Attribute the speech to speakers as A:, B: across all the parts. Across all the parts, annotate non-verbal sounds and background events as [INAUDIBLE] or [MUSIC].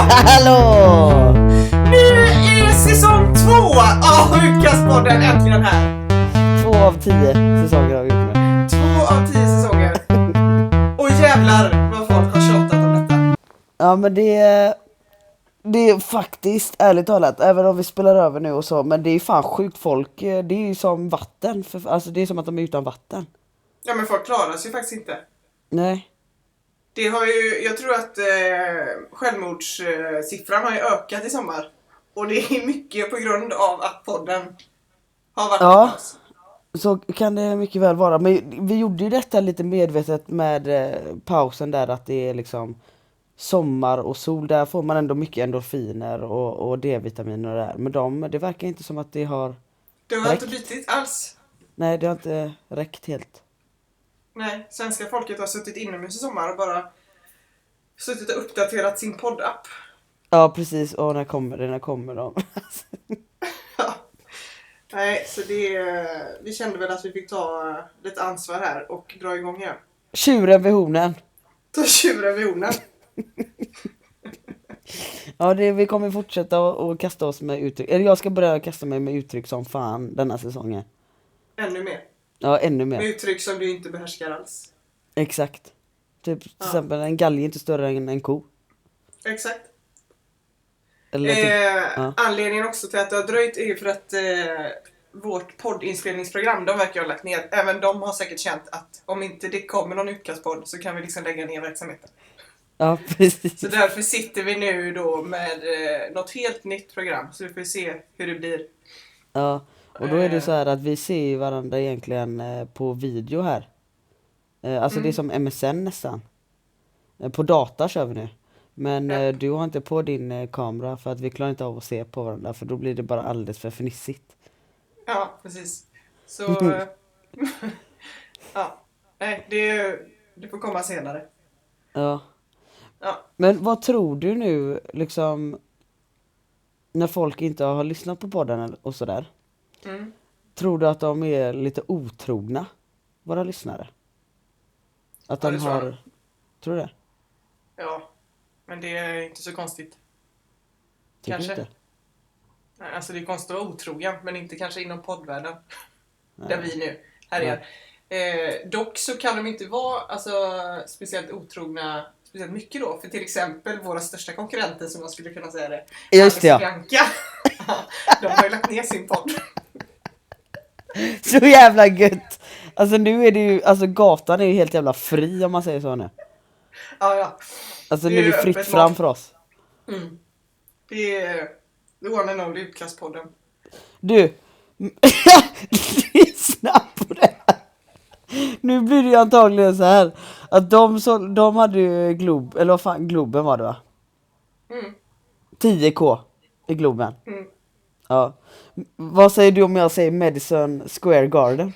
A: hallå!
B: Nu är säsong två av Sjukastpodden äntligen här!
A: Två av tio säsonger har vi gjort nu.
B: Två av tio säsonger. Och jävlar vad folk har tjatat om detta.
A: Ja men det... Det är faktiskt, ärligt talat, även om vi spelar över nu och så, men det är fan sjukt folk, eh, det är ju som vatten, för, alltså det är som att de är utan vatten.
B: Ja men folk klarar sig faktiskt inte.
A: Nej.
B: Det har ju, jag tror att eh, självmordssiffran har ju ökat i sommar. Och det är mycket på grund av att podden har varit
A: Ja.
B: med oss.
A: Så kan det mycket väl vara, men vi gjorde ju detta lite medvetet med eh, pausen där att det är liksom sommar och sol, där får man ändå mycket endorfiner och, och D-vitaminer och det här. Men de, det verkar inte som att det har,
B: Det har inte bitit alls.
A: nej det har inte räckt helt.
B: Nej, svenska folket har suttit inomhus i sommar och bara suttit och uppdaterat sin poddapp. [LAUGHS]
A: Ja precis, och när kommer det, när kommer de? [LAUGHS]
B: Ja. Nej, så det, eh, vi kände väl att vi fick ta eh, lite ansvar här och dra igång igen.
A: Tjuren vid hornen!
B: Ta tjuren vid hornen.
A: Ja, det, vi kommer fortsätta och, och kasta oss med uttryck. Eller jag ska börja kasta mig med uttryck som fan denna säsongen.
B: Ännu mer.
A: Ja, ännu
B: Med
A: mer.
B: uttryck som du inte behärskar alls.
A: Exakt. Typ till exempel en galge är inte större än en ko.
B: Exakt.
A: Eller typ,
B: Eh,
A: ja.
B: Anledningen också till att det har dröjt är ju för att eh, vårt poddinspelningsprogram, de verkar ha lagt ner. Även de har säkert känt att om inte det kommer någon utkastpodd så kan vi liksom lägga ner verksamheten.
A: ja [LAUGHS] precis.
B: Så därför sitter vi nu då med eh, något helt nytt program. Så vi får se hur det blir.
A: Ja. Och då är
B: Eh.
A: det så här att vi ser ju varandra egentligen eh, på video här. Eh, Alltså det är som
B: Mm.
A: MSN nästan. Eh, På data kör vi nu. Men eh, du har inte på din eh, kamera för att vi klarar inte av att se på varandra för då blir det bara alldeles för fnissigt.
B: Ja, precis. Så...
A: Mm-hmm.
B: eh, [LAUGHS] ja. Nej, det, det får komma senare.
A: Ja.
B: Ja.
A: Men vad tror du nu liksom när folk inte har lyssnat på podden eller- och sådär?
B: Mm.
A: Tror du att de är lite otrogna? Våra lyssnare? Att
B: Ja,
A: de
B: det tror jag.
A: har... Tror du det?
B: Ja. Men det är inte så konstigt.
A: Tycker
B: Kanske.
A: Du inte?
B: Nej, Alltså det är konstigt att vara otrogen, men inte kanske inom poddvärlden. Där vi nu härjar. Eh, dock så kan de inte vara alltså, speciellt otrogna speciellt mycket då. För till exempel våra största konkurrenter som man skulle kunna säga det.
A: Ja, just det, ja.
B: Bianca. [LAUGHS] de har ju lagt ner sin podd. [LAUGHS]
A: [LAUGHS] Så jävla gött! Alltså nu är det ju, alltså gatan är ju helt jävla fri om man säger så nu.
B: Ja, ja.
A: Alltså nu
B: Det är
A: är det
B: ju
A: fritt
B: öppet
A: fram
B: mat.
A: för oss.
B: Mm. Det är the one and only utkastpodden.
A: Du! [LAUGHS] Lyssna på det här! Nu blir det ju antagligen så här att de, så, de hade ju Glob, eller vad fan, Globen var det va?
B: Mm.
A: 10k i Globen.
B: Mm.
A: Ja. M- Vad säger du om jag säger Madison Square Garden?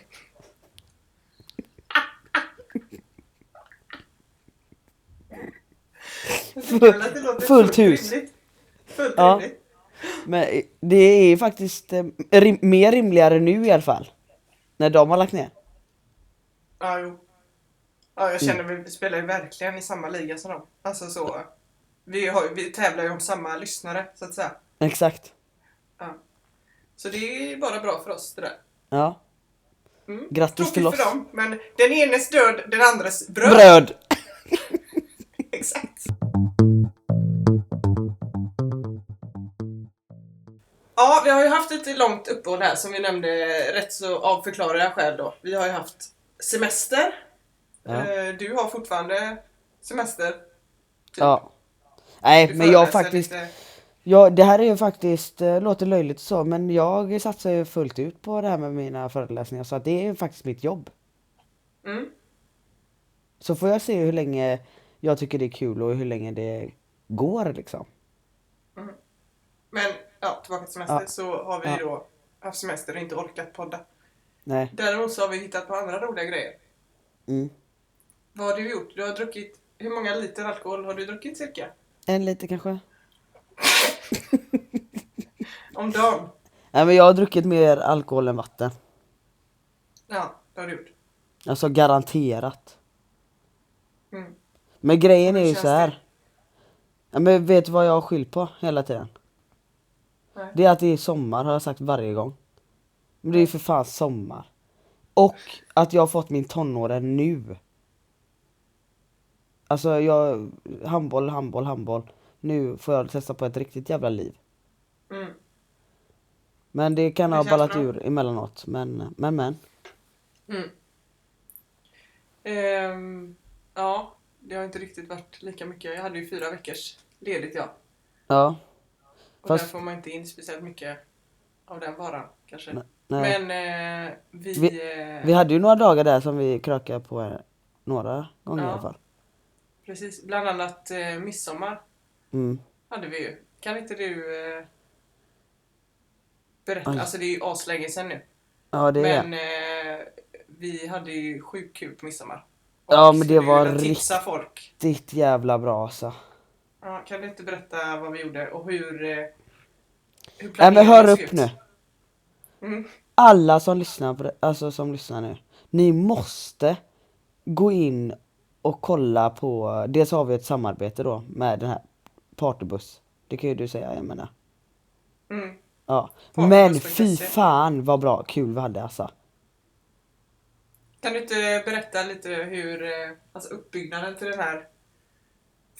B: Jag tycker väl att det låter
A: fullt hus.
B: rimligt. Fullt
A: Ja.
B: rimligt.
A: Men eh, det är faktiskt eh, rim, mer rimligare nu i alla fall. När de har lagt ner.
B: Ja, jo. Ja, jag känner vi spelar ju verkligen i samma liga som dem. Alltså så. Vi, har, ju- vi tävlar ju om samma lyssnare, så att säga.
A: Exakt.
B: Ja. Så det är bara bra för oss det där.
A: Ja.
B: Mm.
A: Grattis till
B: Tråkigt
A: oss.
B: för Typ. dem, men den enes död, den andres bröd.
A: Bröd!
B: [LAUGHS] Exakt. Ja, vi har ju haft ett långt uppehåll här som vi nämnde rätt så av förklarliga skäl då. Vi har ju haft semester.
A: Ja.
B: Eh, Du har fortfarande semester. Typ.
A: Ja. Nej,
B: Du
A: men jag
B: föreläser
A: faktiskt...
B: lite.
A: Ja, det här är ju faktiskt, eh, låter löjligt så, men jag satsar ju fullt ut på det här med mina föreläsningar så att det är faktiskt mitt jobb.
B: Mm.
A: Så får jag se hur länge jag tycker det är kul och hur länge det går liksom.
B: Men ja, tillbaka till semester
A: Ja.
B: så har vi
A: Ja.
B: ju då haft semester och inte orkat podda.
A: Nej.
B: Däremot så har vi hittat på andra roliga grejer.
A: Mm.
B: Vad har du gjort? Du har druckit, hur många liter alkohol har du druckit cirka?
A: En lite kanske?
B: Om dagen?
A: Nej, men jag har druckit mer alkohol än vatten.
B: Ja, det har du gjort.
A: Alltså garanterat.
B: Mm.
A: Men grejen är ju
B: känns
A: så här. Ja, men vet du vad jag har skyllt på hela tiden?
B: Nej.
A: Det är att det är sommar har jag sagt varje gång. Men det är ju för fan sommar. Och att jag har fått min tonåren nu. Alltså jag, handboll, handboll, handboll. Nu får jag testa på ett riktigt jävla liv.
B: Mm.
A: Men det kan
B: Det
A: ha
B: känns
A: ballat
B: bra.
A: ur emellanåt. Men, men, men.
B: Mm. Ehm, ja, det har inte riktigt varit lika mycket. Jag hade ju fyra veckors ledigt ja.
A: Ja.
B: Och
A: Fast-
B: där får man inte in speciellt mycket av den varan kanske.
A: Nej, nej.
B: Men eh, vi...
A: Vi-
B: eh,
A: Vi hade ju några dagar där som vi krökade på eh, några gånger i
B: Ja.
A: alla fall.
B: Precis, bland annat eh, midsommar
A: Mm.
B: hade vi ju. Kan inte du eh, berätta?
A: Aj.
B: Alltså det är ju aslänge sedan nu.
A: Ja det är
B: Men eh, vi hade ju sjukt kul på midsommar.
A: Ja,
B: Och
A: men det
B: skulle ju
A: var
B: vilja tipsa folk.
A: riktigt jävla bra alltså.
B: Ja, kan du inte berätta vad vi gjorde och hur... Eh, hur
A: Nej men hör
B: planeringen
A: upp
B: såg
A: nu.
B: ut? Mm.
A: Alla som lyssnar, på det, alltså som lyssnar nu. Ni måste gå in och kolla på, dels har vi ett samarbete då med den här Partybuss. Det kan ju du säga, jag menar.
B: Mm.
A: Ja.
B: Partybus
A: Men
B: punkt
A: fy
B: se.
A: fan vad bra kul vi hade alltså.
B: Kan du inte berätta lite hur eh, alltså uppbyggnaden till den här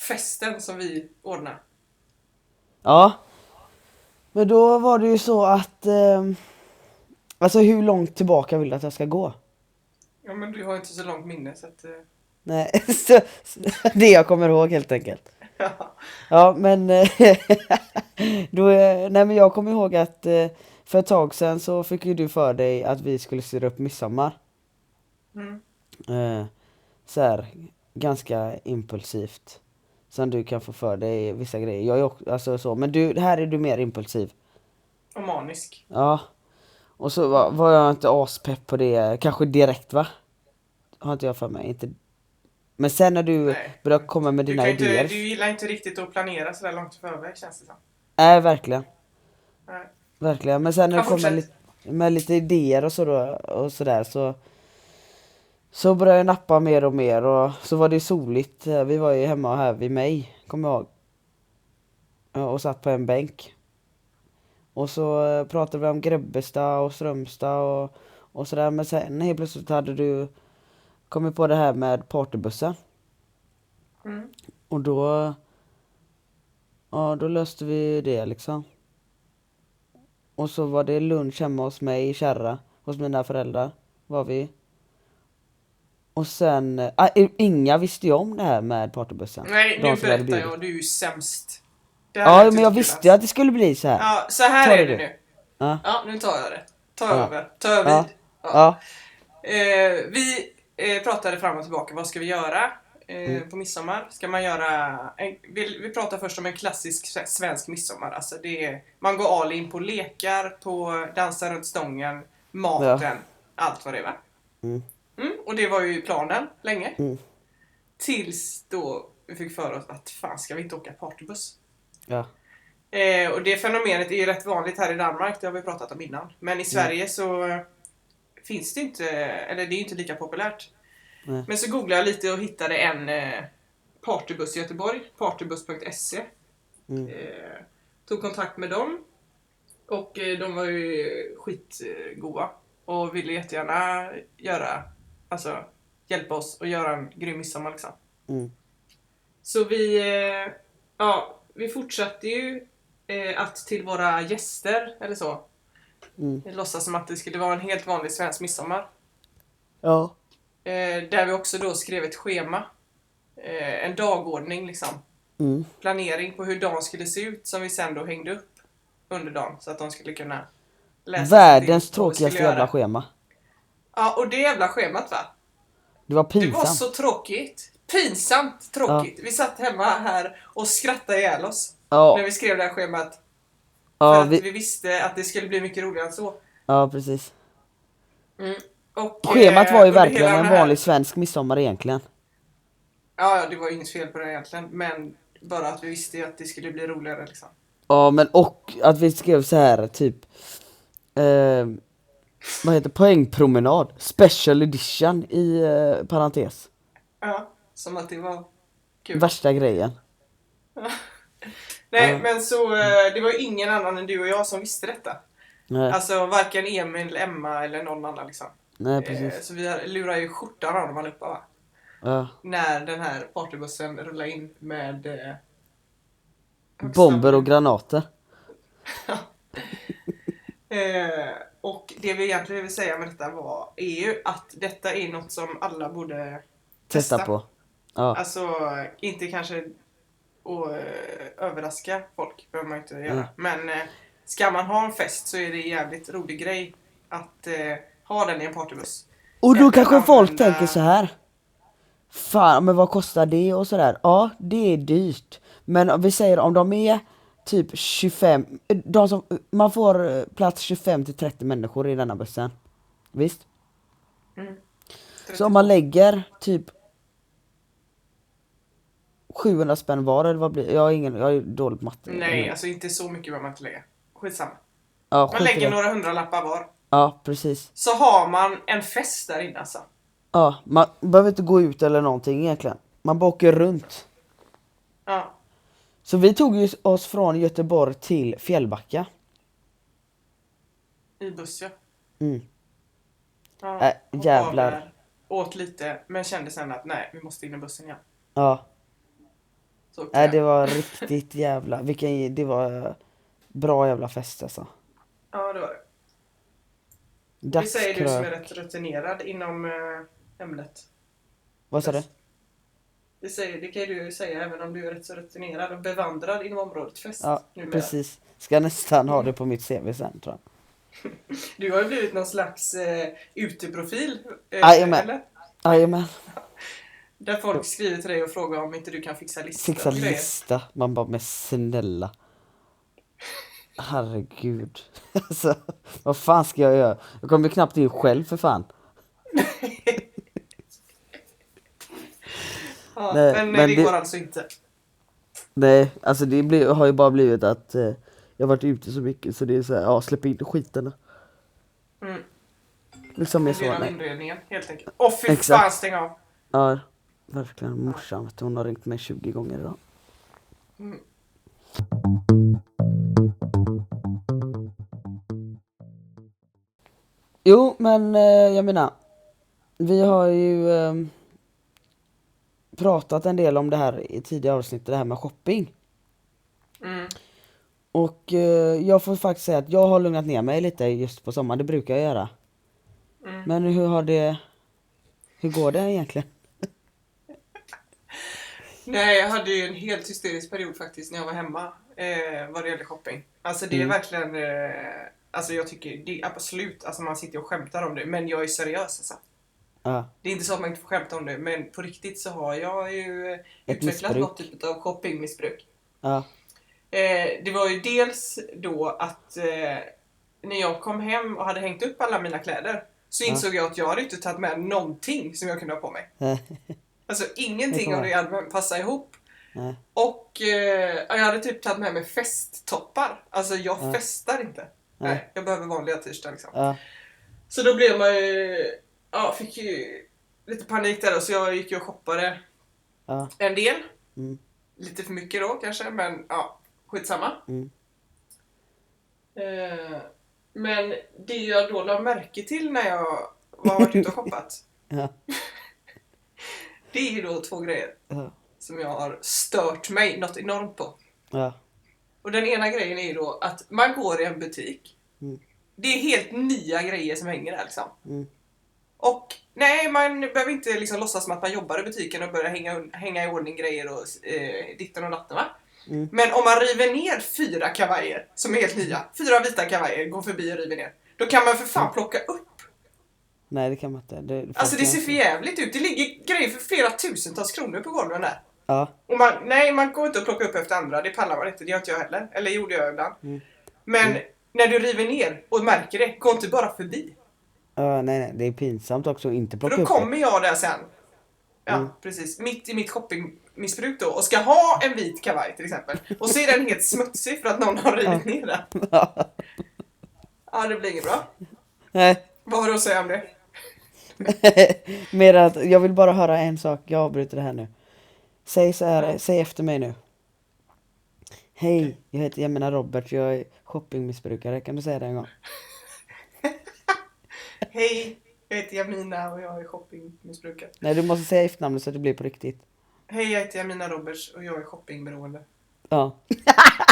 B: festen som vi ordnade?
A: Ja. Men då var det ju så att... ehm, alltså hur långt tillbaka vill du att jag ska gå?
B: Ja men du har ju inte så långt minne så att... Eh, [LAUGHS]
A: Nej, [LAUGHS] så, så, det jag kommer ihåg helt enkelt.
B: ja.
A: Ja men... eh, [LAUGHS] då, eh, nej men jag kommer ihåg att eh, för ett tag sedan så fick ju du för dig att vi skulle styra upp midsommar.
B: Mm.
A: Eh, så här, ganska impulsivt. Som du kan få för dig vissa grejer. Jag är också, alltså så, men du, här är du mer impulsiv.
B: Och manisk.
A: Ja. Och så var, var jag inte aspepp på det, kanske direkt va? Har inte jag för mig, inte... Men sen när du
B: Nej.
A: började komma med
B: Du,
A: dina
B: kan inte,
A: idéer.
B: du gillar inte riktigt att planera sådär långt i förväg känns det som.
A: Nej verkligen,
B: Nej.
A: verkligen. Men sen när
B: Ja,
A: du kom med,
B: fortsätt.
A: lite- med lite idéer och sådär och sådär så... Så började jag nappa mer och mer och så var det ju soligt. Vi var ju hemma här vid mig, kommer jag ihåg. Ja, Och satt på en bänk. Och så eh, pratade vi om Grebbestad och Strömstad och, och sådär. Men sen helt plötsligt hade du kommit på det här med partybussen.
B: Mm.
A: Och då... Ja, då löste vi det liksom. Och så var det lunch hemma hos mig i Kärra. Hos mina föräldrar var vi. Och sen... eh, ah, i- inga visste ju om det här med partybussen.
B: Nej,
A: De
B: nu
A: som hade
B: berättar
A: bjudit.
B: jag. Du är ju sämst. Det här är
A: Ja,
B: inte
A: men jag
B: kul
A: visste
B: alls.
A: ju att det skulle bli så här.
B: Ja, så här
A: Ta det
B: är det
A: du.
B: nu.
A: Ja.
B: Ja, nu tar jag det. Ta
A: Ja.
B: över. Ta över
A: Ja.
B: vid.
A: Ja.
B: Eh, vi eh, pratade fram och tillbaka, vad ska vi göra eh,
A: Mm.
B: på midsommar? Ska man göra en, vi, vi pratar först om en klassisk sve- svensk midsommar. Alltså det är, man går all in på lekar, på dansa runt stången, maten, allt vad det är va?
A: Mm.
B: Mm, och det var ju planen länge.
A: Mm.
B: Tills då vi fick för oss att fan ska vi inte åka partybuss?
A: Ja.
B: Eh, och det fenomenet är ju rätt vanligt här i Danmark, det har vi pratat om innan. Men i Sverige så eh, finns det inte, eller det är ju inte lika populärt.
A: Nej.
B: Men så googlade jag lite och hittade en eh, partybuss i Göteborg, partybuss.se.
A: Mm.
B: Eh, tog kontakt med dem och eh, de var ju skitgoa och ville jättegärna göra, alltså hjälpa oss och göra en grym midsommar liksom.
A: Mm.
B: Så vi, eh, ja, vi fortsatte ju eh, att till våra gäster eller så
A: Mm.
B: låtsas som att det skulle vara en helt vanlig svensk midsommar.
A: Ja.
B: Eh, där vi också då skrev ett schema. Eh, en dagordning liksom.
A: Mm.
B: Planering på hur dagen skulle se ut som vi sen då hängde upp under dagen så att de skulle kunna läsa sig
A: Världens
B: till vad vi skulle
A: tråkigaste jävla
B: göra.
A: schema.
B: Ja, och det jävla schemat va?
A: Det var
B: Det var
A: pinsamt.
B: så tråkigt. Pinsamt tråkigt. Vi satt hemma här och skrattade ihjäl oss när
A: Ja,
B: vi skrev det här schemat. för
A: ja,
B: att vi...
A: vi,
B: visste att det skulle bli mycket roligare än så. Mm.
A: ja precis.
B: Och,
A: Schemat
B: eh,
A: var ju
B: under
A: verkligen
B: hela
A: en
B: den här-
A: vanlig svensk midsommar egentligen.
B: Ja, ja, det var ju inget fel på det egentligen. Men bara att vi visste ju att det skulle bli roligare liksom.
A: Ja men och att vi skrev så här typ eh, Vad heter poängpromenad? Special edition i eh, parentes.
B: Ja, som att det var kul.
A: Värsta grejen.
B: Nej,
A: Ja.
B: men så eh, det var ju ingen annan än du och jag som visste detta.
A: Nej,
B: Alltså varken Emil, Emma eller någon annan liksom.
A: nej
B: Eh,
A: precis.
B: Så vi lurar ju skjortan av dem allihopa va?
A: Ja.
B: När den här partybussen rullar in med... Eh, högsta-
A: Bomber och granater.
B: Eh, och det vi egentligen vill säga med detta var, är ju att detta är något som alla borde
A: Testa på. Ja.
B: Alltså inte kanske att eh, överraska folk, behöver man ju inte göra.
A: Mm.
B: Men eh, ska man ha en fest så är det en jävligt rolig grej att eh, ha den i en partybuss.
A: Och då
B: jag
A: kanske
B: kan eh,
A: folk
B: använda-
A: tänker så här. Fan, men vad kostar det och sådär? Ja, det är dyrt. Men om vi säger om de är typ 25, de som, man får eh, plats 25 till 30 människor i denna bussen. Visst? Så om man lägger typ 700 spänn var eller vad blir Jag har ingen, jag är dålig på matte.
B: Nej, alltså inte så mycket behöver man inte lägga. Skitsamma.
A: ja,
B: Man
A: skit i
B: lägger
A: det.
B: några hundralappar var.
A: Ja, precis.
B: Så har man en fest där inne alltså.
A: Ja, man behöver inte gå ut eller någonting egentligen. Man bara åker runt.
B: Ja.
A: Så vi tog ju oss från Göteborg till Fjällbacka.
B: I buss ja.
A: Mm.
B: ja
A: Äh,
B: hoppade
A: jävlar.
B: av där, Åt lite, men kände sen att nej, vi måste in i bussen igen.
A: Ja,
B: Så åkte
A: nej,
B: jag.
A: det var riktigt jävla, vilken, det var eh, bra jävla fest alltså.
B: Ja, det var det. Det säger du som är
A: Dagskrök.
B: rätt rutinerad inom eh, ämnet.
A: Vad sa du?
B: Det, säger, det kan ju du säga även om du är rätt så rutinerad och bevandrad inom området fest
A: Ja,
B: numera.
A: precis. Ska nästan ha det på mitt CV sen tror jag.
B: Du har ju blivit någon slags eh, uteprofil. eh,
A: Jajamän.
B: eller?
A: Jajamän,
B: Där folk skriver till dig och frågar om inte du kan fixa listor.
A: fixa
B: och grejer.
A: lista. Man bara, men snälla. Herregud. [LAUGHS] Alltså, vad fan ska jag göra? Jag kommer ju knappt in själv för fan.
B: Ja,
A: Nej,
B: men, eh,
A: men
B: det,
A: det-
B: går alltså inte.
A: Nej, alltså det blir, har ju bara blivit att eh, jag har varit ute så mycket så det är så här, ja släpp in skiten.
B: Mm.
A: Liksom
B: Det
A: jag sa,
B: blir av
A: nej.
B: inredningen helt enkelt. Åh fy
A: Exakt.
B: fan, stäng av!
A: Ja, verkligen. Morsan vet du, hon har ringt mig 20 gånger idag.
B: Mm.
A: Jo, men eh, jag menar, vi har ju ehm, pratat en del om det här i tidigare avsnitt, det här med shopping.
B: Mm.
A: Och eh, jag får faktiskt säga att jag har lugnat ner mig lite just på sommaren, det brukar jag göra.
B: Mm.
A: Men hur har det... Hur går det egentligen?
B: Nej, jag hade ju en helt hysterisk period faktiskt när jag var hemma eh, vad det gäller shopping. Alltså det är verkligen, eh, alltså jag tycker det är absolut, alltså man sitter och skämtar om det, men jag är seriös alltså.
A: Ja,
B: Det är inte så att man inte får skämta om det, men på riktigt så har jag ju eh, utvecklat
A: missbruk.
B: något typ av shoppingmissbruk.
A: ja,
B: Eh, det var ju dels då att eh, när jag kom hem och hade hängt upp alla mina kläder så insåg jag att jag hade inte tagit med någonting som jag kunde ha på mig.
A: nej,
B: Alltså
A: Det får
B: ingenting av
A: vara.
B: det jag hade med- passade ihop.
A: nej,
B: Och eh, jag hade typ tagit med mig festtoppar. Alltså jag
A: Ja.
B: festar inte. Nej.
A: Nej.
B: jag behöver vanliga t-shirtar liksom.
A: ja,
B: Så då blev man ju... Ja, fick ju lite panik där då, så jag gick ju och shoppade
A: ja,
B: en del.
A: Mm.
B: Lite för mycket då kanske, men ja, skitsamma.
A: Mm.
B: Eh, men det jag då la märke till när jag var varit ute och shoppat,
A: ja,
B: det är ju då två grejer
A: ja,
B: som jag har stört mig något enormt på.
A: ja,
B: Och den ena grejen är ju då att man går i en butik.
A: Mm.
B: Det är helt nya grejer som hänger där liksom.
A: mm,
B: Och nej, man behöver inte liksom låtsas som att man jobbar i butiken och börjar hänga, hänga i ordning grejer och eh, ditten och datten va.
A: Mm.
B: Men om man river ner fyra kavajer som är helt nya, fyra vita kavajer går förbi och river ner. Då kan man för
A: Mm.
B: fan plocka upp.
A: nej det kan man inte. Det,
B: Alltså det ser
A: fel
B: för jävligt ut. Det ligger grejer för flera tusentals kronor på golven där.
A: Ja,
B: Och man, nej, man går inte och plockar upp efter andra. Det pallar man inte. Det gör inte jag heller. Eller gjorde jag ibland.
A: Mm.
B: Men när du river ner och märker det, gå inte bara förbi.
A: ja, nej, nej, det är pinsamt också att inte
B: För
A: plocka
B: då
A: upp det. Mm.
B: kommer jag där sen. Ja, precis. Mitt i mitt shoppingmissbruk då. Och ska ha en vit kavaj till exempel. Och så är den helt smutsig för att någon har rivit
A: [LAUGHS]
B: ner den. Ja, det blir inget bra.
A: Nej,
B: Vad har du att säga om det?
A: [LAUGHS] mer att jag vill bara höra en sak, jag avbryter det här nu. Säg så här, säg efter mig nu. Hej, jag heter jag menar Robert, jag är shoppingmissbrukare. Kan du säga det en gång?
B: Hej, jag heter Jamina och jag är shoppingmissbrukare.
A: Nej, du måste säga efternamnet så att det blir på riktigt.
B: Hej, jag heter Jamina Roberts och jag är shoppingberoende.
A: Ja.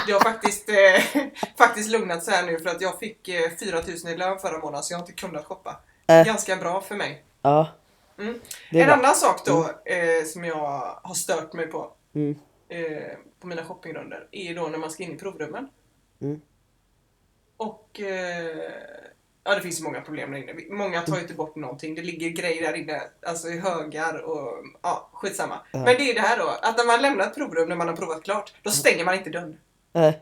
B: Jag har faktiskt, eh, [LAUGHS] faktiskt lugnat så här nu för att jag fick eh, 4000 i lön förra månaden så jag har inte kunnat shoppa.
A: Äh.
B: Ganska bra för mig.
A: Ja.
B: Mm.
A: Det är
B: En
A: bra.
B: annan sak då eh, som jag har stört mig på
A: Mm.
B: eh, på mina shoppingrundor är ju då när man ska in i provrummen.
A: Mm.
B: Och eh, ja, det finns ju många problem där inne. Många tar ju inte bort någonting. Det ligger grejer där inne, alltså i högar och ja, skitsamma.
A: Ja.
B: Men det är det här då, att när man lämnar ett provrum när man har provat klart, då stänger man inte dörren.
A: Äh.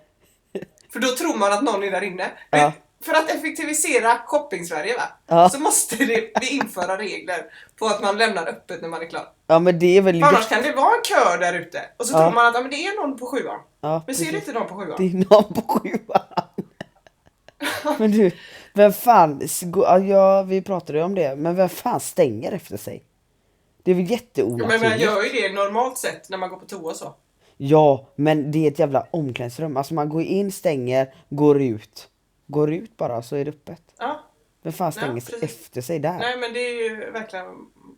B: För då tror man att någon är där inne.
A: Ja.
B: Men För att effektivisera shopping-Sverige va?
A: Ja.
B: Så måste det, vi införa regler på att man lämnar öppet när man är klar.
A: Ja men det är väl
B: För annars
A: viktigt.
B: kan det vara en kö där ute och så
A: Ja.
B: tror man att ja, men det är någon på sjuan.
A: Ja,
B: Men ser du
A: precis.
B: inte någon på sjuan?
A: Det är någon på
B: [LAUGHS]
A: sjuan. Men du, vem fan, s- gå- ja, ja vi pratade ju om det, men vem fan stänger efter sig? Det är väl
B: Ja, men man
A: jätteonaturligt?
B: gör ju det normalt sett när man går på toa och så.
A: Ja, men det är ett jävla omklädningsrum. Alltså man går in, stänger, går ut. Går ut bara så är det öppet.
B: Ja.
A: Vem fan
B: Ja,
A: stänger sig
B: precis.
A: efter sig där?
B: Nej men det är ju verkligen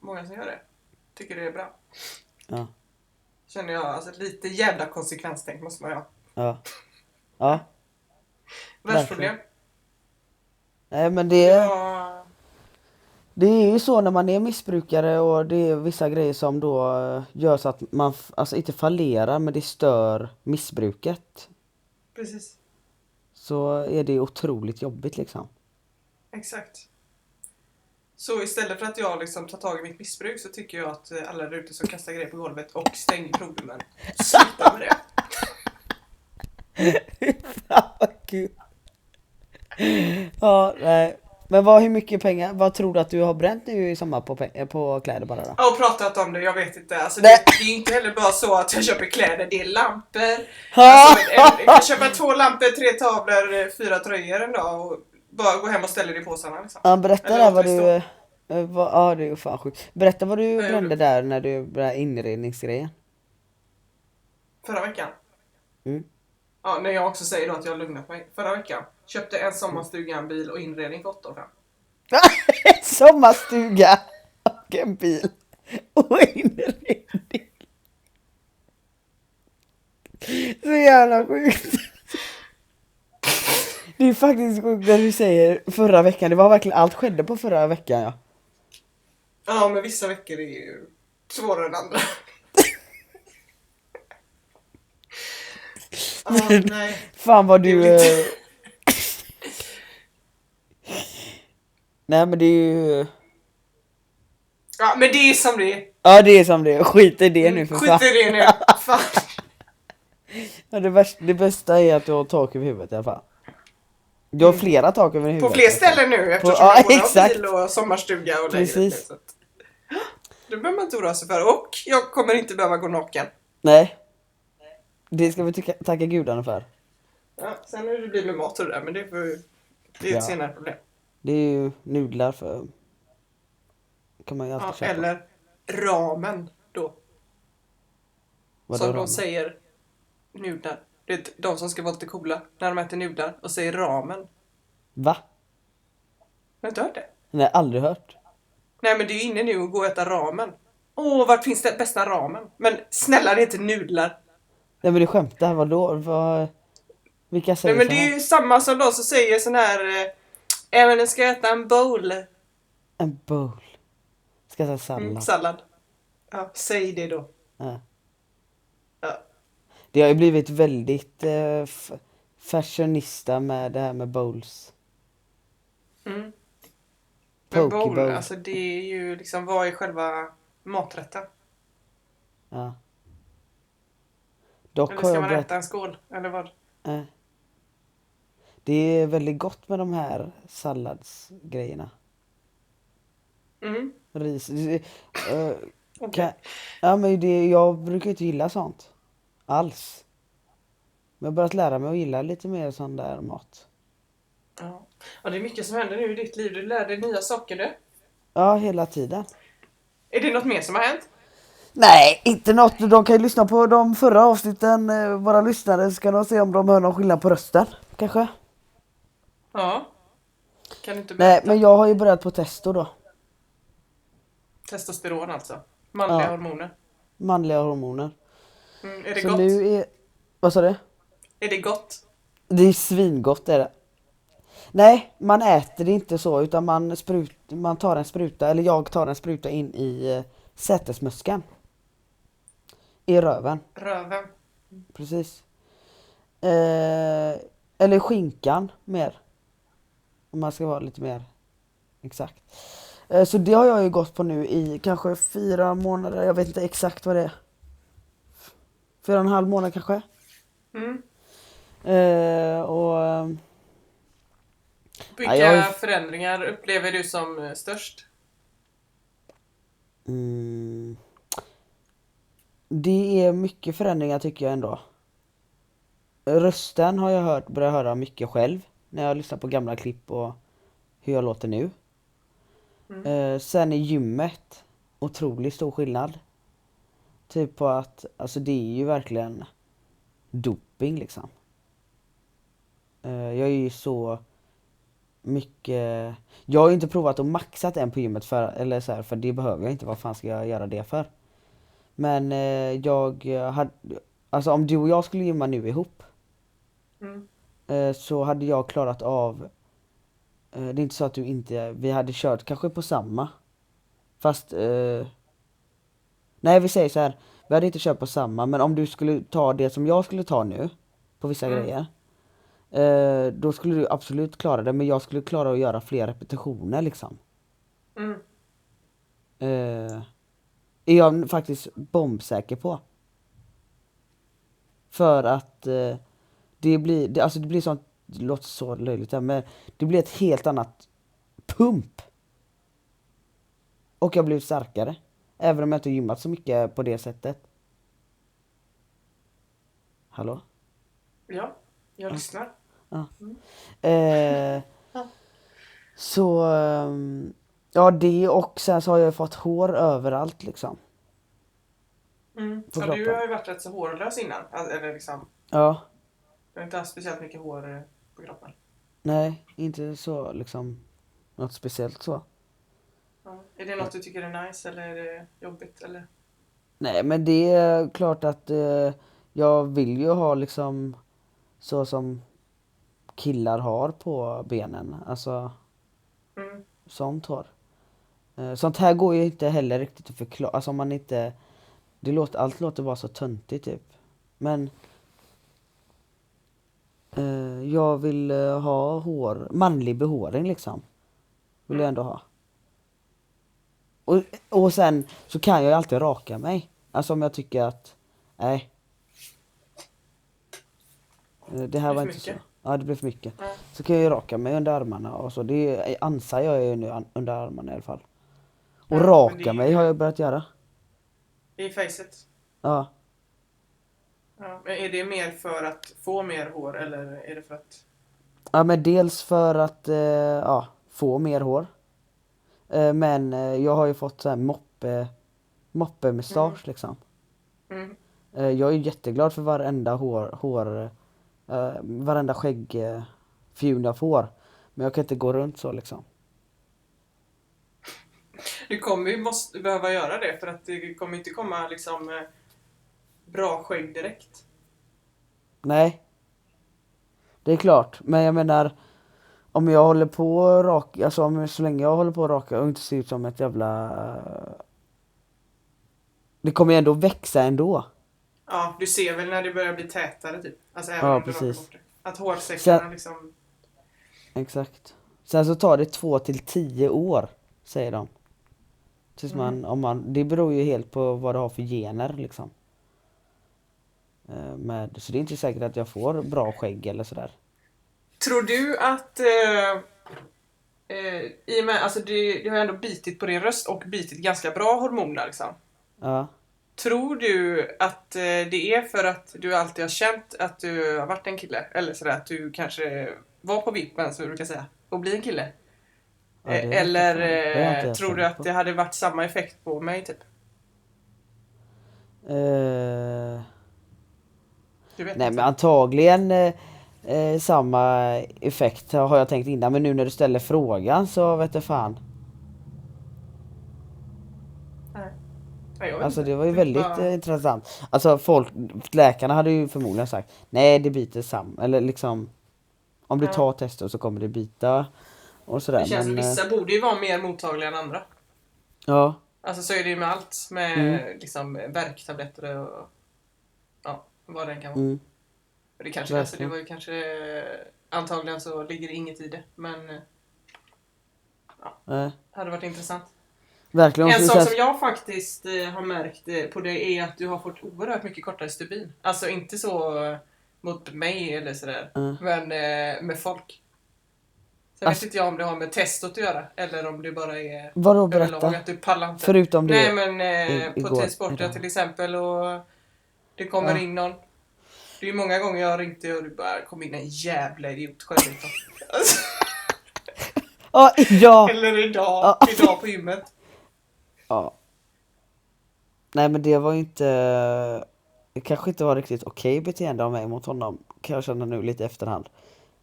B: många som gör det. Tycker det är bra.
A: Ja,
B: Känner jag. Alltså lite jävla konsekvenstänk måste man ju ha.
A: ja. Ja,
B: Världsproblem.
A: nej men det,
B: Ja.
A: det är ju så när man är missbrukare och det är vissa grejer som då eh, gör så att man, f- alltså inte fallerar men det stör missbruket.
B: Precis.
A: Så är det otroligt jobbigt liksom.
B: Exakt. Så istället för att jag liksom tar tag i mitt missbruk så tycker jag att eh, alla där ute som kastar grejer på golvet och stänger provrummen. Sluta med det.
A: Fan vad kul! Ja, nej. Men vad, hur mycket pengar, vad tror du att du har bränt nu i sommar på, pe- eh, på kläder bara då?
B: Jag har pratat om det, jag vet inte. Alltså, det,
A: Nej.
B: det är inte heller bara så att jag köper kläder, det är lampor. Alltså, men en, jag kan köpa två lampor, tre tavlor, eh, fyra tröjor en dag och bara gå hem och ställa det i påsarna. Liksom.
A: Ja, berätta
B: Eller
A: där
B: låt
A: vad
B: mig
A: du...
B: stå.
A: eh, Vad, ja, det är ju fan sjukt. Berätta vad du
B: jag gjorde.
A: brände där när du började inredningsgrejen.
B: Förra veckan.
A: Mm.
B: Ja, när jag också säger då att jag har lugnat mig. Förra veckan köpte en sommarstuga, en bil och inredning för 8 500.
A: [LAUGHS] Sommarstuga och en bil och inredning. Så jävla sjukt. Det är faktiskt sjukt när du säger förra veckan. Det var verkligen allt skedde på förra veckan ja.
B: Ja, men vissa veckor är ju svårare
A: [LAUGHS]
B: än andra. Ja, nej.
A: Fan vad du...
B: Det är lite-
A: eh, Nej men det är ju...
B: Ja, men det är som det är.
A: Ja det är som det är. Skit i det nu för fan.
B: Skit i det nu.
A: [LAUGHS]
B: Fan.
A: Ja, det, värsta, det bästa är att du har tak över huvudet i alla fall. Du har flera tak över huvudet.
B: Mm. På fler ställen nu eftersom
A: ja,
B: jag både har
A: exakt.
B: bil och sommarstuga och lägenhet.
A: Precis.
B: så att- [GASPS] Det behöver man inte oroa sig för och jag kommer inte behöva gå naken.
A: Nej. Det ska vi tycka, tacka gudarna för.
B: Ja, sen hur det blir med mat och det där men det, är för, det är
A: Ja.
B: ett senare problem.
A: Det är ju nudlar för... Kan man ju alltid
B: Ja,
A: köpa.
B: eller ramen då.
A: Vadå
B: som
A: ramen?
B: de säger nudlar. Det är de som ska vara lite coola när de äter nudlar och säger ramen.
A: Va?
B: Har du inte hört det?
A: Nej, aldrig hört.
B: Nej men det är ju inne nu att gå och äta ramen. Åh, vart finns det bästa ramen? Men snälla det heter nudlar.
A: Nej men du skämtar, vadå? Vad... Vilka säger
B: Nej men
A: så
B: det
A: här?
B: är ju samma som de som säger sån här eh, Även nu ska jag äta en bowl
A: En bowl. Ska jag ta sallad?
B: mm, sallad. Ja, säg det då.
A: ja.
B: Ja.
A: Det har ju blivit väldigt eh, f- fashionista med det här med bowls.
B: Mm. Men
A: Poke
B: bowl,
A: bowl.
B: alltså det är ju liksom vad är själva maträtten?
A: Ja. Dock har
B: Eller ska
A: jag
B: man
A: börjat
B: äta en skål? Eller vad?
A: Nej. Det är väldigt gott med de här salladsgrejerna.
B: Mm.
A: Ris. det- eh,
B: okej.
A: kan, ja, men det, jag brukar inte gilla sånt. Alls. Men jag har börjat lära mig att gilla lite mer sån där mat.
B: Ja. ja, det är mycket som händer nu i ditt liv. Du lär dig nya saker du.
A: Ja, hela tiden.
B: Är det något mer som har hänt?
A: Nej, inte något. De kan ju lyssna på de förra avsnitten, eh, våra lyssnare, så kan de se om de hör någon skillnad på rösten. Kanske.
B: Ja. Kan du inte
A: Nej,
B: berätta?
A: men jag har ju börjat på testo då.
B: Testosteron alltså. Manliga
A: Ja.
B: hormoner.
A: Manliga hormoner.
B: Mm, är det
A: Så
B: gott?
A: nu är... Vad sa du?
B: Är det gott?
A: Det är svingott är det. Nej, man äter det inte så utan man, sprut, man tar en spruta, eller jag tar en spruta in i eh, sätesmuskeln. I röven,
B: Röven.
A: precis. Eh, eller skinkan mer. Om man ska vara lite mer exakt. Eh, så det har jag ju gått på nu i kanske fyra månader, jag vet inte exakt vad det är. Fyra och en halv månad kanske.
B: Mm.
A: Eh, och... ehm,
B: Vilka
A: jag har ju-
B: förändringar upplever du som eh, störst?
A: Mm. Det är mycket förändringar tycker jag ändå. Rösten har jag hört, börjat höra mycket själv när jag lyssnar på gamla klipp och hur jag låter nu. Eh, sen i gymmet, otroligt stor skillnad. Typ på att, alltså det är ju verkligen doping liksom. Eh, jag är ju så mycket... Jag har ju inte provat och maxat än på gymmet för, eller så här, för det behöver jag inte. Vad fan ska jag göra det för? Men eh, jag hade... Alltså om du och jag skulle gymma nu ihop
B: Mm.
A: eh, så hade jag klarat av... Eh, det är inte så att du inte... Vi hade kört kanske på samma. Fast... Eh, nej vi säger så här. Vi hade inte kört på samma men om du skulle ta det som jag skulle ta nu på vissa
B: Mm.
A: grejer. Eh, då skulle du absolut klara det men jag skulle klara att göra fler repetitioner liksom.
B: Mm.
A: Eh, är jag faktiskt bombsäker på. För att eh, det blir, det, alltså det blir sånt, det låter så löjligt här, men det blir ett helt annat pump. Och jag blir starkare. Även om jag inte gymmat så mycket på det sättet. Hallå?
B: Ja,
A: Mm.
B: jag lyssnar.
A: Eh,
B: Ja.
A: så, ehm, ja det och sen så har jag fått hår överallt liksom.
B: Mm.
A: Får
B: Ja, du
A: prata.
B: har ju varit rätt så hårlös innan. Alltså, eller liksom,
A: Ja.
B: du har inte haft speciellt mycket hår eh, på kroppen.
A: Nej, inte så liksom något speciellt så.
B: Ja. Är det något du tycker är nice eller är det jobbigt? Eller?
A: Nej, men det är klart att eh, jag vill ju ha liksom så som killar har på benen. Alltså
B: Mm.
A: sånt hår. Eh, sånt här går ju inte heller riktigt att förklara. Alltså om man inte... Det låter, allt låter bara så töntigt typ. Men... Eh, jag vill eh, ha hår, manlig behåring liksom. Vill jag ändå ha. Och, och sen så kan jag ju alltid raka mig. Alltså om jag tycker att, nej. Eh, Det här var
B: Det blir för
A: inte så.
B: mycket.
A: Ja det blir för mycket.
B: Ja.
A: Så kan jag ju raka mig under armarna och så. Det är- ansar jag ju nu an- under armarna i alla fall. Och
B: Ja, men det
A: raka
B: är-
A: mig har jag börjat göra.
B: I facet?
A: Ja.
B: Ja. Men är det mer för att få mer hår eller är det för att...
A: Ja men dels för att eh, ja, få mer hår. Eh, men eh, jag har ju fått så här moppe, moppemustasch liksom.
B: Mm.
A: Eh, jag är ju jätteglad för varenda hår, hår eh, varenda skäggfjun eh, fjun jag får. Men jag kan inte gå runt så liksom.
B: Du kommer ju måste behöva göra det för att det kommer inte komma liksom eh, bra skägg direkt.
A: Nej. Det är klart, men jag menar om jag håller på och raka, alltså om, så länge jag håller på och raka och inte ser ut som ett jävla... Det kommer ju ändå växa ändå.
B: Ja, du ser väl när det börjar bli tätare typ. Alltså även
A: Ja,
B: om du rakar
A: precis.
B: bort det. Att hårsäckarna
A: Så-
B: liksom...
A: Exakt. Sen så tar det två till tio år, säger de. Tills man, om man, det beror ju helt på vad du har för gener liksom. Eh, Med, så det är inte säkert att jag får bra skägg eller sådär.
B: Tror du att... Eh, eh, I och med, alltså det, det har ändå bitit på din röst och bitit ganska bra hormoner liksom.
A: Ja.
B: Tror du att eh, det är för att du alltid har känt att du har varit en kille? Eller sådär att du kanske var på vippen som vi brukar säga och bli en kille?
A: Ja, det
B: Eh,
A: vet jag
B: Eller
A: fan. Det har jag inte
B: eh,
A: ens
B: tror du
A: tänkt
B: att
A: på.
B: det hade varit samma effekt på mig typ?
A: Eh,
B: Du vet
A: nej
B: inte.
A: men antagligen eh, eh, samma effekt har jag tänkt innan men nu när du ställer frågan så vet jag fan.
B: Nej. Nej, jag vet
A: Alltså
B: inte.
A: det var ju
B: är
A: väldigt
B: bara-
A: eh, intressant. Alltså folk, läkarna hade ju förmodligen sagt nej det biter sam eller liksom om du
B: Ja.
A: tar tester så kommer det bita och sådär.
B: Det känns som
A: men, eh,
B: vissa borde ju vara mer mottagliga än andra.
A: ja,
B: Alltså så är det ju med allt. Med
A: Mm.
B: liksom värktabletter och ja, vad den kan vara.
A: mm,
B: Och Det, kanske, alltså, det
A: Verkligen.
B: var ju kanske... Antagligen så ligger det inget i det. Men eh,
A: nej.
B: hade varit intressant.
A: eh, verkligen. om
B: En
A: vi
B: sak
A: säger-
B: som jag faktiskt eh, har märkt eh, på dig är att du har fått oerhört mycket kortare stubin. Alltså inte så eh, mot mig eller sådär,
A: Mm.
B: men eh, med folk. Sen
A: Alltså-
B: vet inte jag om det har med testot att göra eller om det bara är
A: Vadå
B: överlag
A: berätta?
B: att du pallar inte.
A: Förutom det.
B: Nej men eh,
A: i-
B: på
A: igår,
B: T-sporten
A: idag.
B: till exempel och det kommer
A: Ja.
B: in någon. Det är ju många gånger jag har ringt dig och du bara kom in en jävla idiot själv. alltså,
A: Ah, ja!
B: eller idag,
A: Ja.
B: idag på gymmet.
A: Ja. Nej men det var ju inte... Det kanske inte var riktigt okej beteende av mig mot honom. Kan jag känna nu lite i efterhand.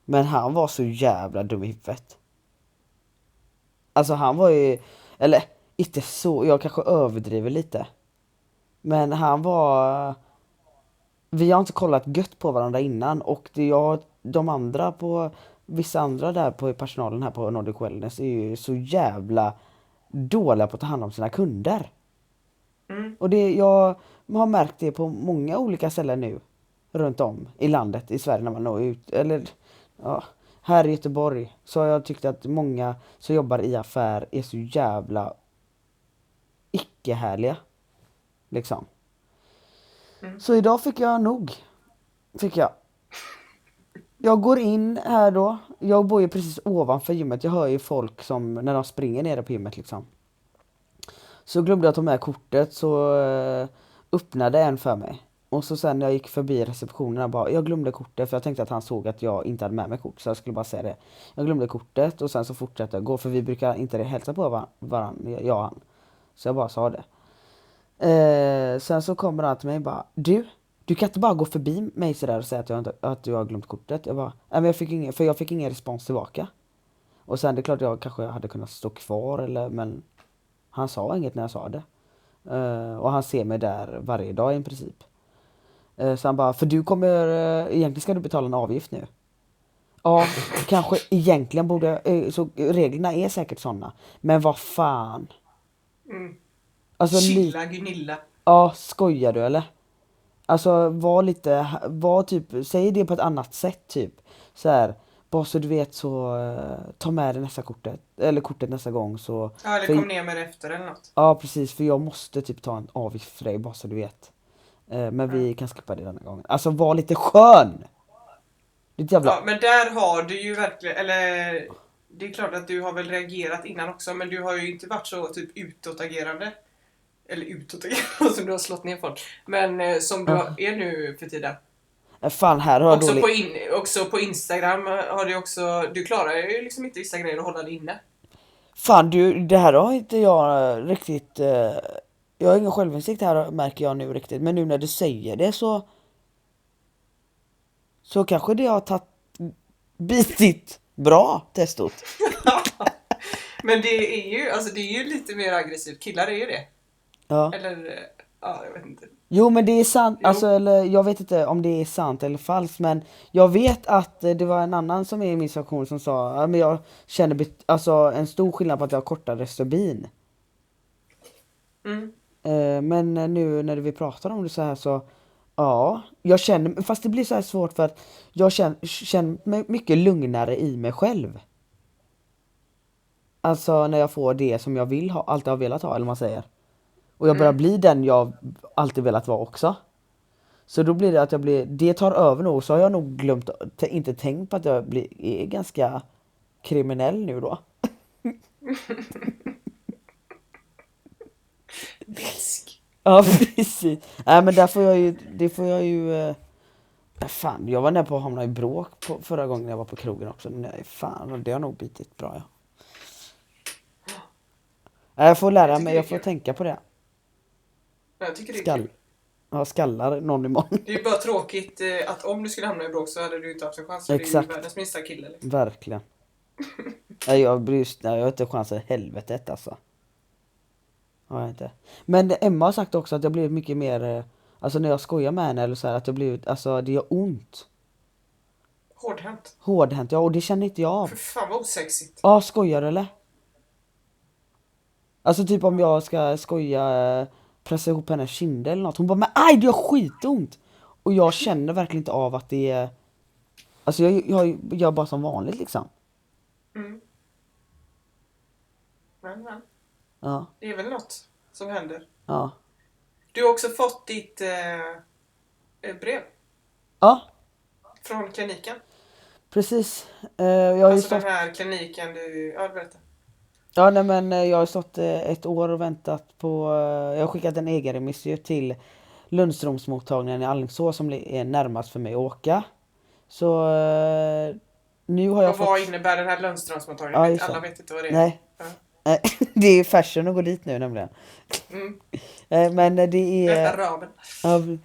A: Men han var så jävla dum i huvudet. Alltså han var ju... Eller inte så, jag kanske överdriver lite. Men han var... Vi har inte kollat gött på varandra innan och det jag, de andra på... Vissa andra där på personalen här på Nordic Wellness är ju så jävla dåliga på att ta hand om sina kunder.
B: Mm.
A: Och det, jag har märkt det på många olika ställen nu. Runt om i landet, i Sverige när man når ut, eller ja, här i Göteborg så har jag tyckt att många som jobbar i affär är så jävla icke-härliga. Liksom.
B: Mm.
A: Så idag fick jag nog. Fick jag. Jag går in här då. Jag bor ju precis ovanför gymmet. Jag hör ju folk som, när de springer nere på gymmet liksom. Så glömde jag ta med kortet så eh, öppnade en för mig. Och så sen när jag gick förbi receptionen jag bara, jag glömde kortet för jag tänkte att han såg att jag inte hade med mig kort så jag skulle bara säga det. Jag glömde kortet och sen så fortsatte jag gå för vi brukar inte hälsa på varandra, varann, jag och han. Så jag bara sa det. Eh, sen så kommer han till mig och bara, du, du kan inte bara gå förbi mig sådär och säga att, jag inte, att du har glömt kortet. Jag bara, nej men jag fick ingen, för jag fick ingen respons tillbaka. Och sen det är klart jag kanske hade kunnat stå kvar eller men han sa inget när jag sa det. Eh, och han ser mig där varje dag i princip. Eh, så han bara, för du kommer, eh, egentligen ska du betala en avgift nu. Ja, kanske egentligen borde, jag- eh, så reglerna är säkert sådana. Men vad fan.
B: Mm.
A: Alltså, li-
B: Chilla Gunilla.
A: Ja, skojar du eller? Alltså var lite, var typ, säg det på ett annat sätt typ. Så här, bara så du vet så eh, ta med dig nästa kortet, eller kortet nästa gång så.
B: Ja, eller
A: För-
B: kom ner med det efter eller något.
A: Ja precis, för jag måste typ ta en avgift för dig bara så du vet. Eh, men vi kan skippa det denna gången. Alltså var lite skön! Ditt jävla...
B: Ja, men där har du ju verkligen, eller det är klart att du har väl reagerat innan också, men du har ju inte varit så typ utåtagerande. Eller utåtagerande [LAUGHS] som du har slått ner folk. Men eh, som du
A: Ja.
B: har- är nu för tiden.
A: Eh, Fan här har jag
B: Också
A: dålig...
B: på, in, också på Instagram har du också, du klarar ju liksom inte vissa grejer att hålla dig inne. [LAUGHS]
A: Fan du, det här har inte jag riktigt... Eh, jag har ingen självinsikt här märker jag nu riktigt. Men nu när du säger det så... Så kanske det har tagit... Bitit bra testot.
B: men det är ju, alltså det är ju lite mer aggressivt, killar är ju det.
A: Ja.
B: Eller, eh, ja jag vet inte.
A: Jo men det är sant,
B: Jo.
A: alltså eller jag vet inte om det är sant eller falskt men jag vet att eh, det var en annan som är i min sektion som sa ja, men jag känner bet- alltså, en stor skillnad på att jag har kortare stubin.
B: Mm.
A: Eh, Men eh, nu när vi pratar om det så här så Ja, jag känner, fast det blir så här svårt för att jag känner, känner mig mycket lugnare i mig själv. Alltså när jag får det som jag vill ha, alltid har velat ha eller vad man säger. Och jag börjar
B: Mm.
A: bli den jag alltid velat vara också. Så då blir det att jag blir, det tar över nog, så har jag nog glömt, t- inte tänkt på att jag blir, är ganska kriminell nu då.
B: Bisk.
A: [LAUGHS] Ja precis. Nej men där får jag ju, det får jag ju... Eh, ja, fan, jag var nära på att hamna i bråk på, förra gången jag var på krogen också. Nej fan, det har nog bitit bra ja. Nej, Jag får lära
B: Jag tycker
A: mig,
B: det är
A: jag får
B: kul.
A: tänka på det.
B: Jag tycker det är
A: Skall.
B: kul.
A: jag skallar någon imorgon. [LAUGHS]
B: Det är bara tråkigt eh, att om du skulle hamna i bråk så hade du inte haft en chans. För Det är
A: Exakt.
B: ju världens minsta kille. Liksom.
A: Verkligen. Nej, jag bryr nej, jag har inte chansen i helvetet alltså. Har jag inte. Men Emma har sagt också att jag blivit mycket mer, eh, alltså när jag skojar med henne eller så här, att jag blivit, alltså det gör ont.
B: Hårdhänt.
A: Hårdhänt, ja och det känner inte jag av.
B: För fan vad osexigt.
A: Ja, skojar du eller? Alltså typ om jag ska skoja, eh, pressa ihop hennes kinder eller något. Hon bara men aj det gör skitont! Och jag känner verkligen inte av att det är... Alltså jag, jag gör bara som vanligt liksom.
B: Mm. Men, men.
A: Ja,
B: Det är väl något som händer.
A: ja.
B: Du har också fått ditt eh, eh, brev
A: Ja,
B: från kliniken.
A: precis. Eh, jag har ju
B: alltså
A: stått,
B: den här kliniken du... Ja, berätta.
A: ja, nej, men eh, jag har ju stått eh, ett år och väntat på... eh, Jag har skickat en egen remiss ju till Lundströmsmottagningen i Alingsås som li- är närmast för mig att åka. Så eh, nu har jag
B: Och
A: fått...
B: vad innebär den här Lundströmsmottagningen?
A: Ja, just det.
B: Alla vet inte vad det är.
A: Nej.
B: Ja.
A: Nej, [LAUGHS] det är fashion att gå dit nu nämligen.
B: Mm.
A: Eh, Men eh, det är...
B: Berätta ramen.
A: Ja, v-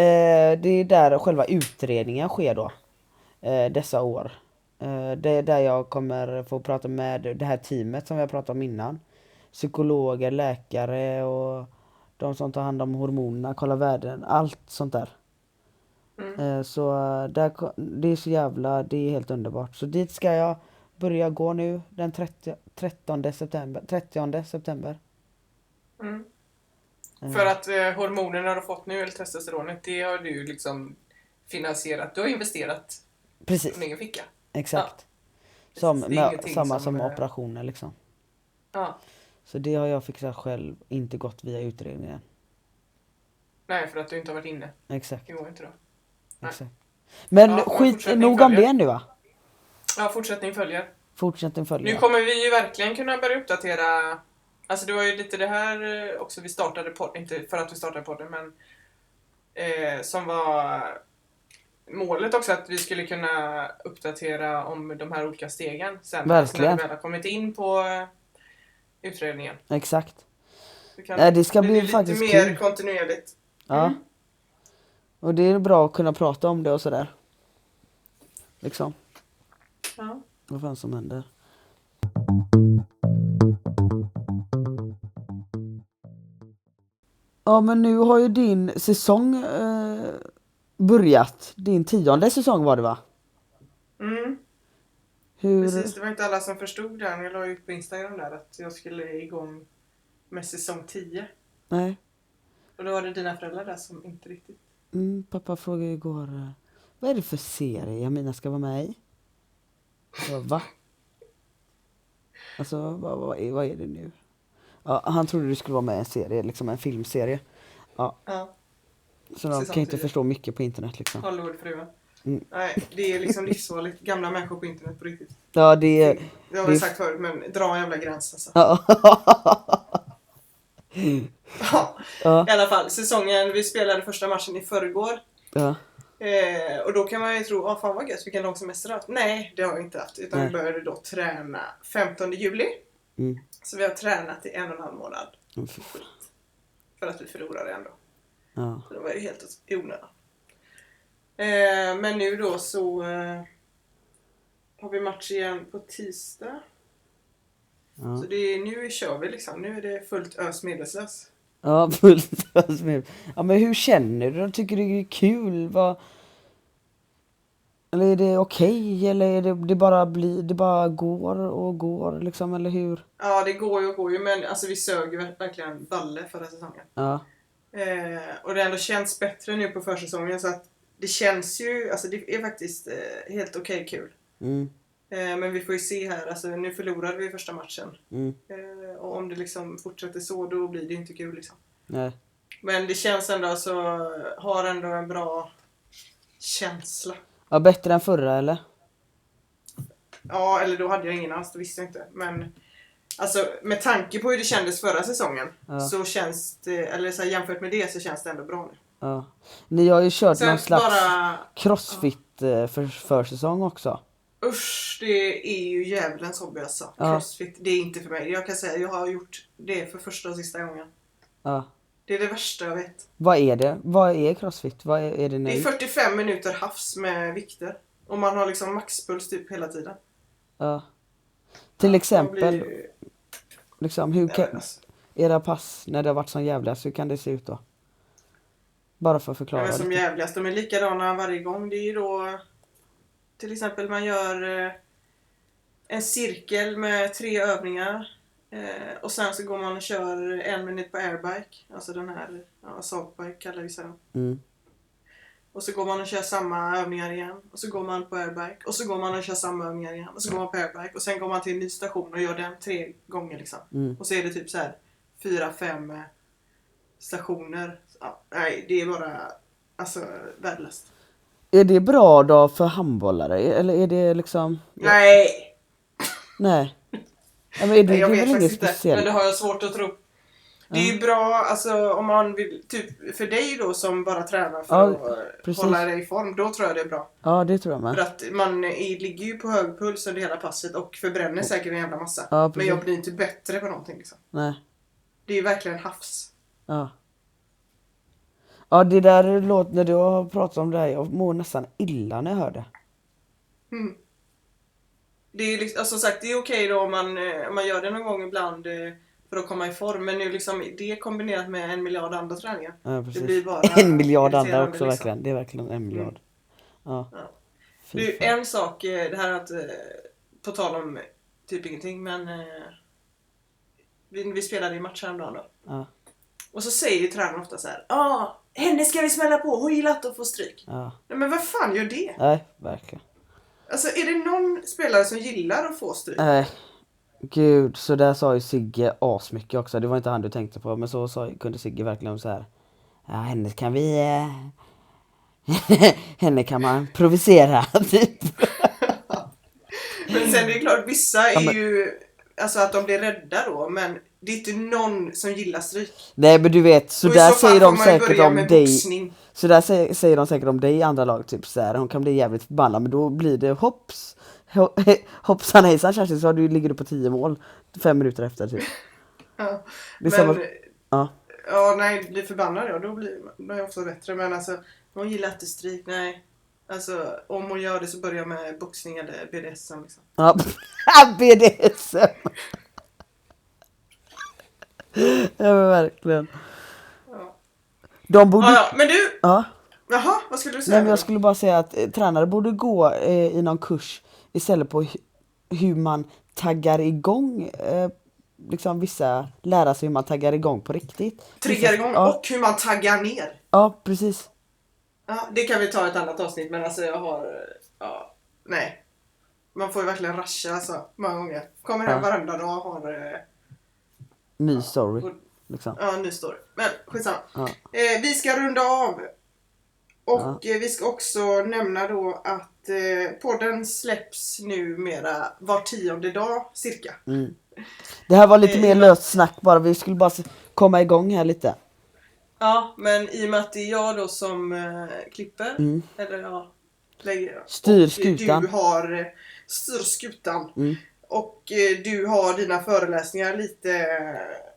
A: eh, det är där själva utredningen sker då. eh, Dessa år. Eh, Det är där jag kommer få prata med det här teamet som vi har pratat om innan. Psykologer, läkare och de som tar hand om hormonerna, kollar värden, allt sånt där.
B: Mm.
A: Eh, Så eh, där, ko- det är så jävla, det är helt underbart. Så dit ska jag börja gå nu den 30, 13 september. 30 september.
B: Mm.
A: Eh,
B: För att eh, hormonerna du har fått nu, eller testosteronet, det har du ju liksom finansierat. Du har investerat
A: Precis,
B: från egen ficka.
A: exakt.
B: precis.
A: Som,
B: Det är
A: med,
B: ingenting
A: samma
B: som,
A: som
B: eh,
A: operationer liksom.
B: Ja.
A: Så det har jag fixat själv, inte gått via utredningen.
B: Nej, för att du inte har varit inne.
A: Exakt,
B: Det går inte då. Nej.
A: exakt. Men
B: Ja, och
A: skit,
B: fortsättning
A: nog om
B: följer.
A: det nu va?
B: Ja, fortsättning följer.
A: Fortsättning följer.
B: Nu kommer vi ju verkligen kunna börja uppdatera. Alltså det var ju lite det här eh, också vi startade podden, inte för att vi startade podden men eh, som var målet också att vi skulle kunna uppdatera om de här olika stegen sen.
A: Verkligen.
B: När vi väl har kommit in på eh, utredningen.
A: Exakt.
B: Så kan
A: Nej, det ska bli
B: lite
A: faktiskt
B: mer
A: kul.
B: kontinuerligt.
A: Ja.
B: Mm.
A: Och det är bra att kunna prata om det och sådär. Liksom,
B: Ja.
A: vad fan som händer. Ja men nu har ju din säsong eh, börjat. Din tionde säsong var det va?
B: Mm,
A: Hur...
B: precis, det var inte alla som förstod det. här. Jag la ut på Instagram där att jag skulle igång med säsong 10.
A: Nej.
B: Och då var det dina föräldrar där som inte riktigt
A: Mm, pappa frågade igår eh, Vad är det för serie Jamina ska vara med i? Jag bara, va? Alltså vad, vad, är, vad är det nu? Ja, han trodde det skulle vara med i en serie, liksom en filmserie.
B: ja.
A: Så de
B: Säsong
A: kan ju inte
B: tio.
A: förstå mycket på internet liksom.
B: Hollywoodfruar.
A: Mm.
B: Nej, det är liksom livsfarligt. Gamla människor på internet på riktigt.
A: Ja det är...
B: Det har
A: Det är-
B: vi sagt förut, men dra en jävla gräns alltså.
A: Ja.
B: Ja.
A: [LAUGHS] Ja.
B: I alla fall, säsongen, vi spelade första matchen i förrgår.
A: ja.
B: Eh, och då kan man ju tro, ah, fan vad gött, vilken lång semester du har haft. Nej, det har vi inte haft. Utan
A: Nej.
B: vi började då träna 15 juli.
A: Mm.
B: Så vi har tränat i en och en halv månad.
A: Åh, fy fan.
B: För att vi förlorade ändå.
A: Ja.
B: Så det var ju helt i onödan. Eh, men nu då så eh, har vi match igen på tisdag.
A: Ja.
B: Så det är, nu kör vi liksom. Nu är det fullt ös medelslös.
A: Ja, [LAUGHS] fullt ös med- Ja men hur känner du? Tycker du det är kul? Vad... Eller är det okej? Eller är det, det bara blir, det bara går och går liksom, eller hur?
B: Ja, det går ju och går ju, men alltså, vi sög ju verkligen balle förra säsongen.
A: Ja.
B: Eh, och det har ändå känns bättre nu på försäsongen så att det känns ju, alltså det är faktiskt eh, helt okej kul.
A: Mm,
B: Eh, men vi får ju se här, alltså nu förlorade vi första matchen.
A: mm,
B: Eh, och om det liksom fortsätter så, då blir det ju inte kul liksom.
A: nej.
B: Men det känns ändå så, har ändå en bra känsla.
A: Ja, bättre än förra eller?
B: Ja, eller då hade jag ingen alls, det visste jag inte. Men alltså, med tanke på hur det kändes förra säsongen
A: Ja.
B: så känns det, eller så här, jämfört med det så känns det ändå bra nu.
A: Ja. Ni har ju kört
B: Sen
A: någon slags
B: bara,
A: crossfit eh, för, försäsong också.
B: usch, det är ju djävulens hobby alltså.
A: Ja.
B: Crossfit, det är inte för mig. Jag kan säga, jag har gjort det för första och sista gången.
A: Ja.
B: Det är det värsta jag vet.
A: Vad är det? Vad är crossfit? Vad är, är det nu?
B: Det är 45 minuter havs med vikter. Och man har liksom maxpuls typ hela tiden.
A: ja. Till
B: Man
A: exempel,
B: blir ju-
A: liksom, hur
B: Nej, men
A: kan
B: alltså,
A: era pass när det har varit som jävligast, hur kan det se ut då? Bara för att
B: de är
A: förklara.
B: som
A: lite.
B: jävligast. De är likadana varje gång. Det är ju då till exempel man gör eh, en cirkel med tre övningar. eh, Och sen så går man och kör en minut på airbike. Alltså den här ja, assaultbike kallar vi sen.
A: Mm.
B: Och så går man och kör samma övningar igen. Och så går man på airbike. Och så går man och kör samma övningar igen. Och så går man på airbike. Och sen går man till en ny station och gör den tre gånger liksom.
A: Mm.
B: Och så är det typ så här fyra, fem eh, stationer. Ja, nej, det är bara alltså värdelöst.
A: Är det bra då för handbollare? Eller är det liksom...
B: Nej!
A: Nej. Ja, men är det,
B: Nej,
A: det
B: jag
A: är
B: vet
A: väl inget
B: faktiskt inte. Men
A: speciellt?
B: det har jag svårt att tro. Det är ju bra, alltså om man vill, typ för dig då som bara tränar för
A: Ja,
B: att eh,
A: precis.
B: hålla dig i form, då tror jag det är bra.
A: Ja, det tror jag
B: För
A: med.
B: att man är, ligger ju på hög puls under hela passet och förbränner säkert en jävla massa.
A: Ja,
B: men
A: precis.
B: jag blir inte bättre på någonting liksom.
A: Nej.
B: Det är ju verkligen havs.
A: Ja. Ja, det där låter... När du har pratat om det här, jag mår nästan illa när jag hör det.
B: Mm. Det är liksom, alltså, som sagt, det är okej då om man, eh, om man gör det någon gång ibland eh, för att komma i form. Men nu liksom det kombinerat med en miljard andra träningar.
A: Ja, precis.
B: Det blir bara
A: en miljard andra
B: irriterande,
A: också
B: liksom.
A: verkligen. Det är verkligen en miljard. Ja.
B: Ja.
A: Fy
B: Du,
A: fan.
B: en sak, eh, det här är att, eh, på tal om eh, typ ingenting, men eh, vi, vi spelade ju match häromdagen då.
A: Ja,
B: Och så säger ju tränaren ofta så här, ja, ah, henne ska vi smälla på, hon gillar inte att få stryk.
A: ja.
B: Nej men vad fan gör det?
A: Nej, verkligen.
B: Alltså är det någon spelare som gillar att få stryk?
A: Nej. Gud, så där sa ju Sigge asmycket också. Det var inte han du tänkte på, men så sa, kunde Sigge verkligen så här. Ja, henne kan vi... Eh... [LAUGHS] henne kan man provocera, [LAUGHS] typ.
B: Men sen är det klart, vissa är
A: Ja, men-
B: ju, alltså att de blir rädda då, men det är inte någon som gillar stryk.
A: Nej men du vet, så
B: Och i
A: där
B: så fall
A: säger de
B: får man ju
A: säkert
B: börja
A: om
B: med
A: dig.
B: boxning.
A: Så där säger, säger de säkert om dig i andra lag, typ så här. hon kan bli jävligt förbannad men då blir det hopps. Ho- [LAUGHS] Hoppsan hejsan Kerstin så har du, ligger du på 10 mål fem minuter efter typ.
B: Ja.
A: Det är
B: Men,
A: samma- Ja.
B: ja, nej, blir förbannad jag, då blir man- då är jag ofta bättre. Men alltså, hon gillar inte stryk, nej. Alltså, om hon gör det så börjar jag med boxning eller BDSM liksom.
A: Ja, [LAUGHS] BDSM. ja men verkligen.
B: Ja.
A: De borde...
B: Ah, ja, men du!
A: Ja.
B: Jaha, vad skulle du säga?
A: Nej men jag
B: då?
A: skulle bara säga att eh, tränare borde gå eh, i någon kurs istället på hu- hur man taggar igång eh, liksom vissa, lära sig hur man taggar igång på riktigt.
B: Triggar igång
A: Ja,
B: och hur man taggar ner.
A: ja precis.
B: Ja, det kan vi ta i ett annat avsnitt, men alltså jag har... Ja, nej. Man får ju verkligen rascha alltså, många gånger. Kommer hem
A: Ja.
B: varenda dag och har... eh,
A: Ny story.
B: och-
A: Liksom.
B: Ja, nu står det. Men skitsamma.
A: Ja.
B: Eh, vi ska runda av. Och eh, vi ska också nämna då att eh, podden släpps numera var tionde dag cirka.
A: mm. Det här var lite
B: Eh,
A: mer
B: jag-
A: löst snack bara, vi skulle bara s- komma igång här lite.
B: Ja, men i och med att det är jag då som eh, klipper, eller ja, lägger,
A: Mm. Styr
B: och, eh,
A: skutan.
B: Du har eh, styr skutan.
A: Mm.
B: Och eh, du har dina föreläsningar lite eh,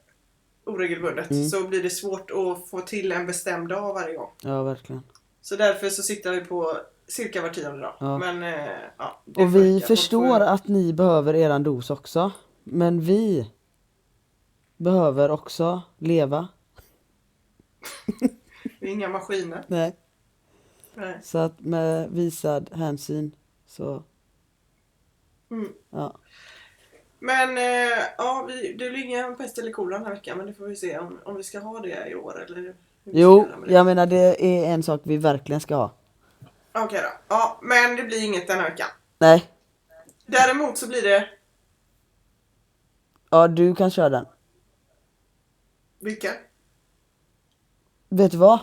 B: oregelbundet.
A: Mm.
B: Så blir det svårt att få till en bestämd dag varje gång.
A: Ja verkligen.
B: Så därför så siktar vi på cirka var tionde dag.
A: Ja.
B: Men, eh, ja, det
A: Och vi
B: funkar. Man
A: förstår
B: får-
A: att ni behöver eran dos också. Men vi behöver också leva.
B: Vi är inga maskiner.
A: Nej.
B: Nej.
A: Så att med visad hänsyn så...
B: Mm.
A: Ja.
B: Men eh, ja, vi, det blir ingen pest eller kolera den här veckan. Men det får vi se om, om vi ska ha det i år eller hur vi ska
A: Jo,
B: göra med det.
A: jag menar det är en sak vi verkligen ska ha.
B: Okej då. Ja, men det blir inget den här veckan.
A: Nej,
B: Däremot så blir det...
A: ja du kan köra den.
B: Vilka?
A: Vet du
B: [LAUGHS]
A: vad?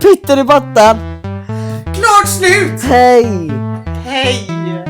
A: Pytten i botten!
B: Klart slut!
A: Hej!
B: Hej!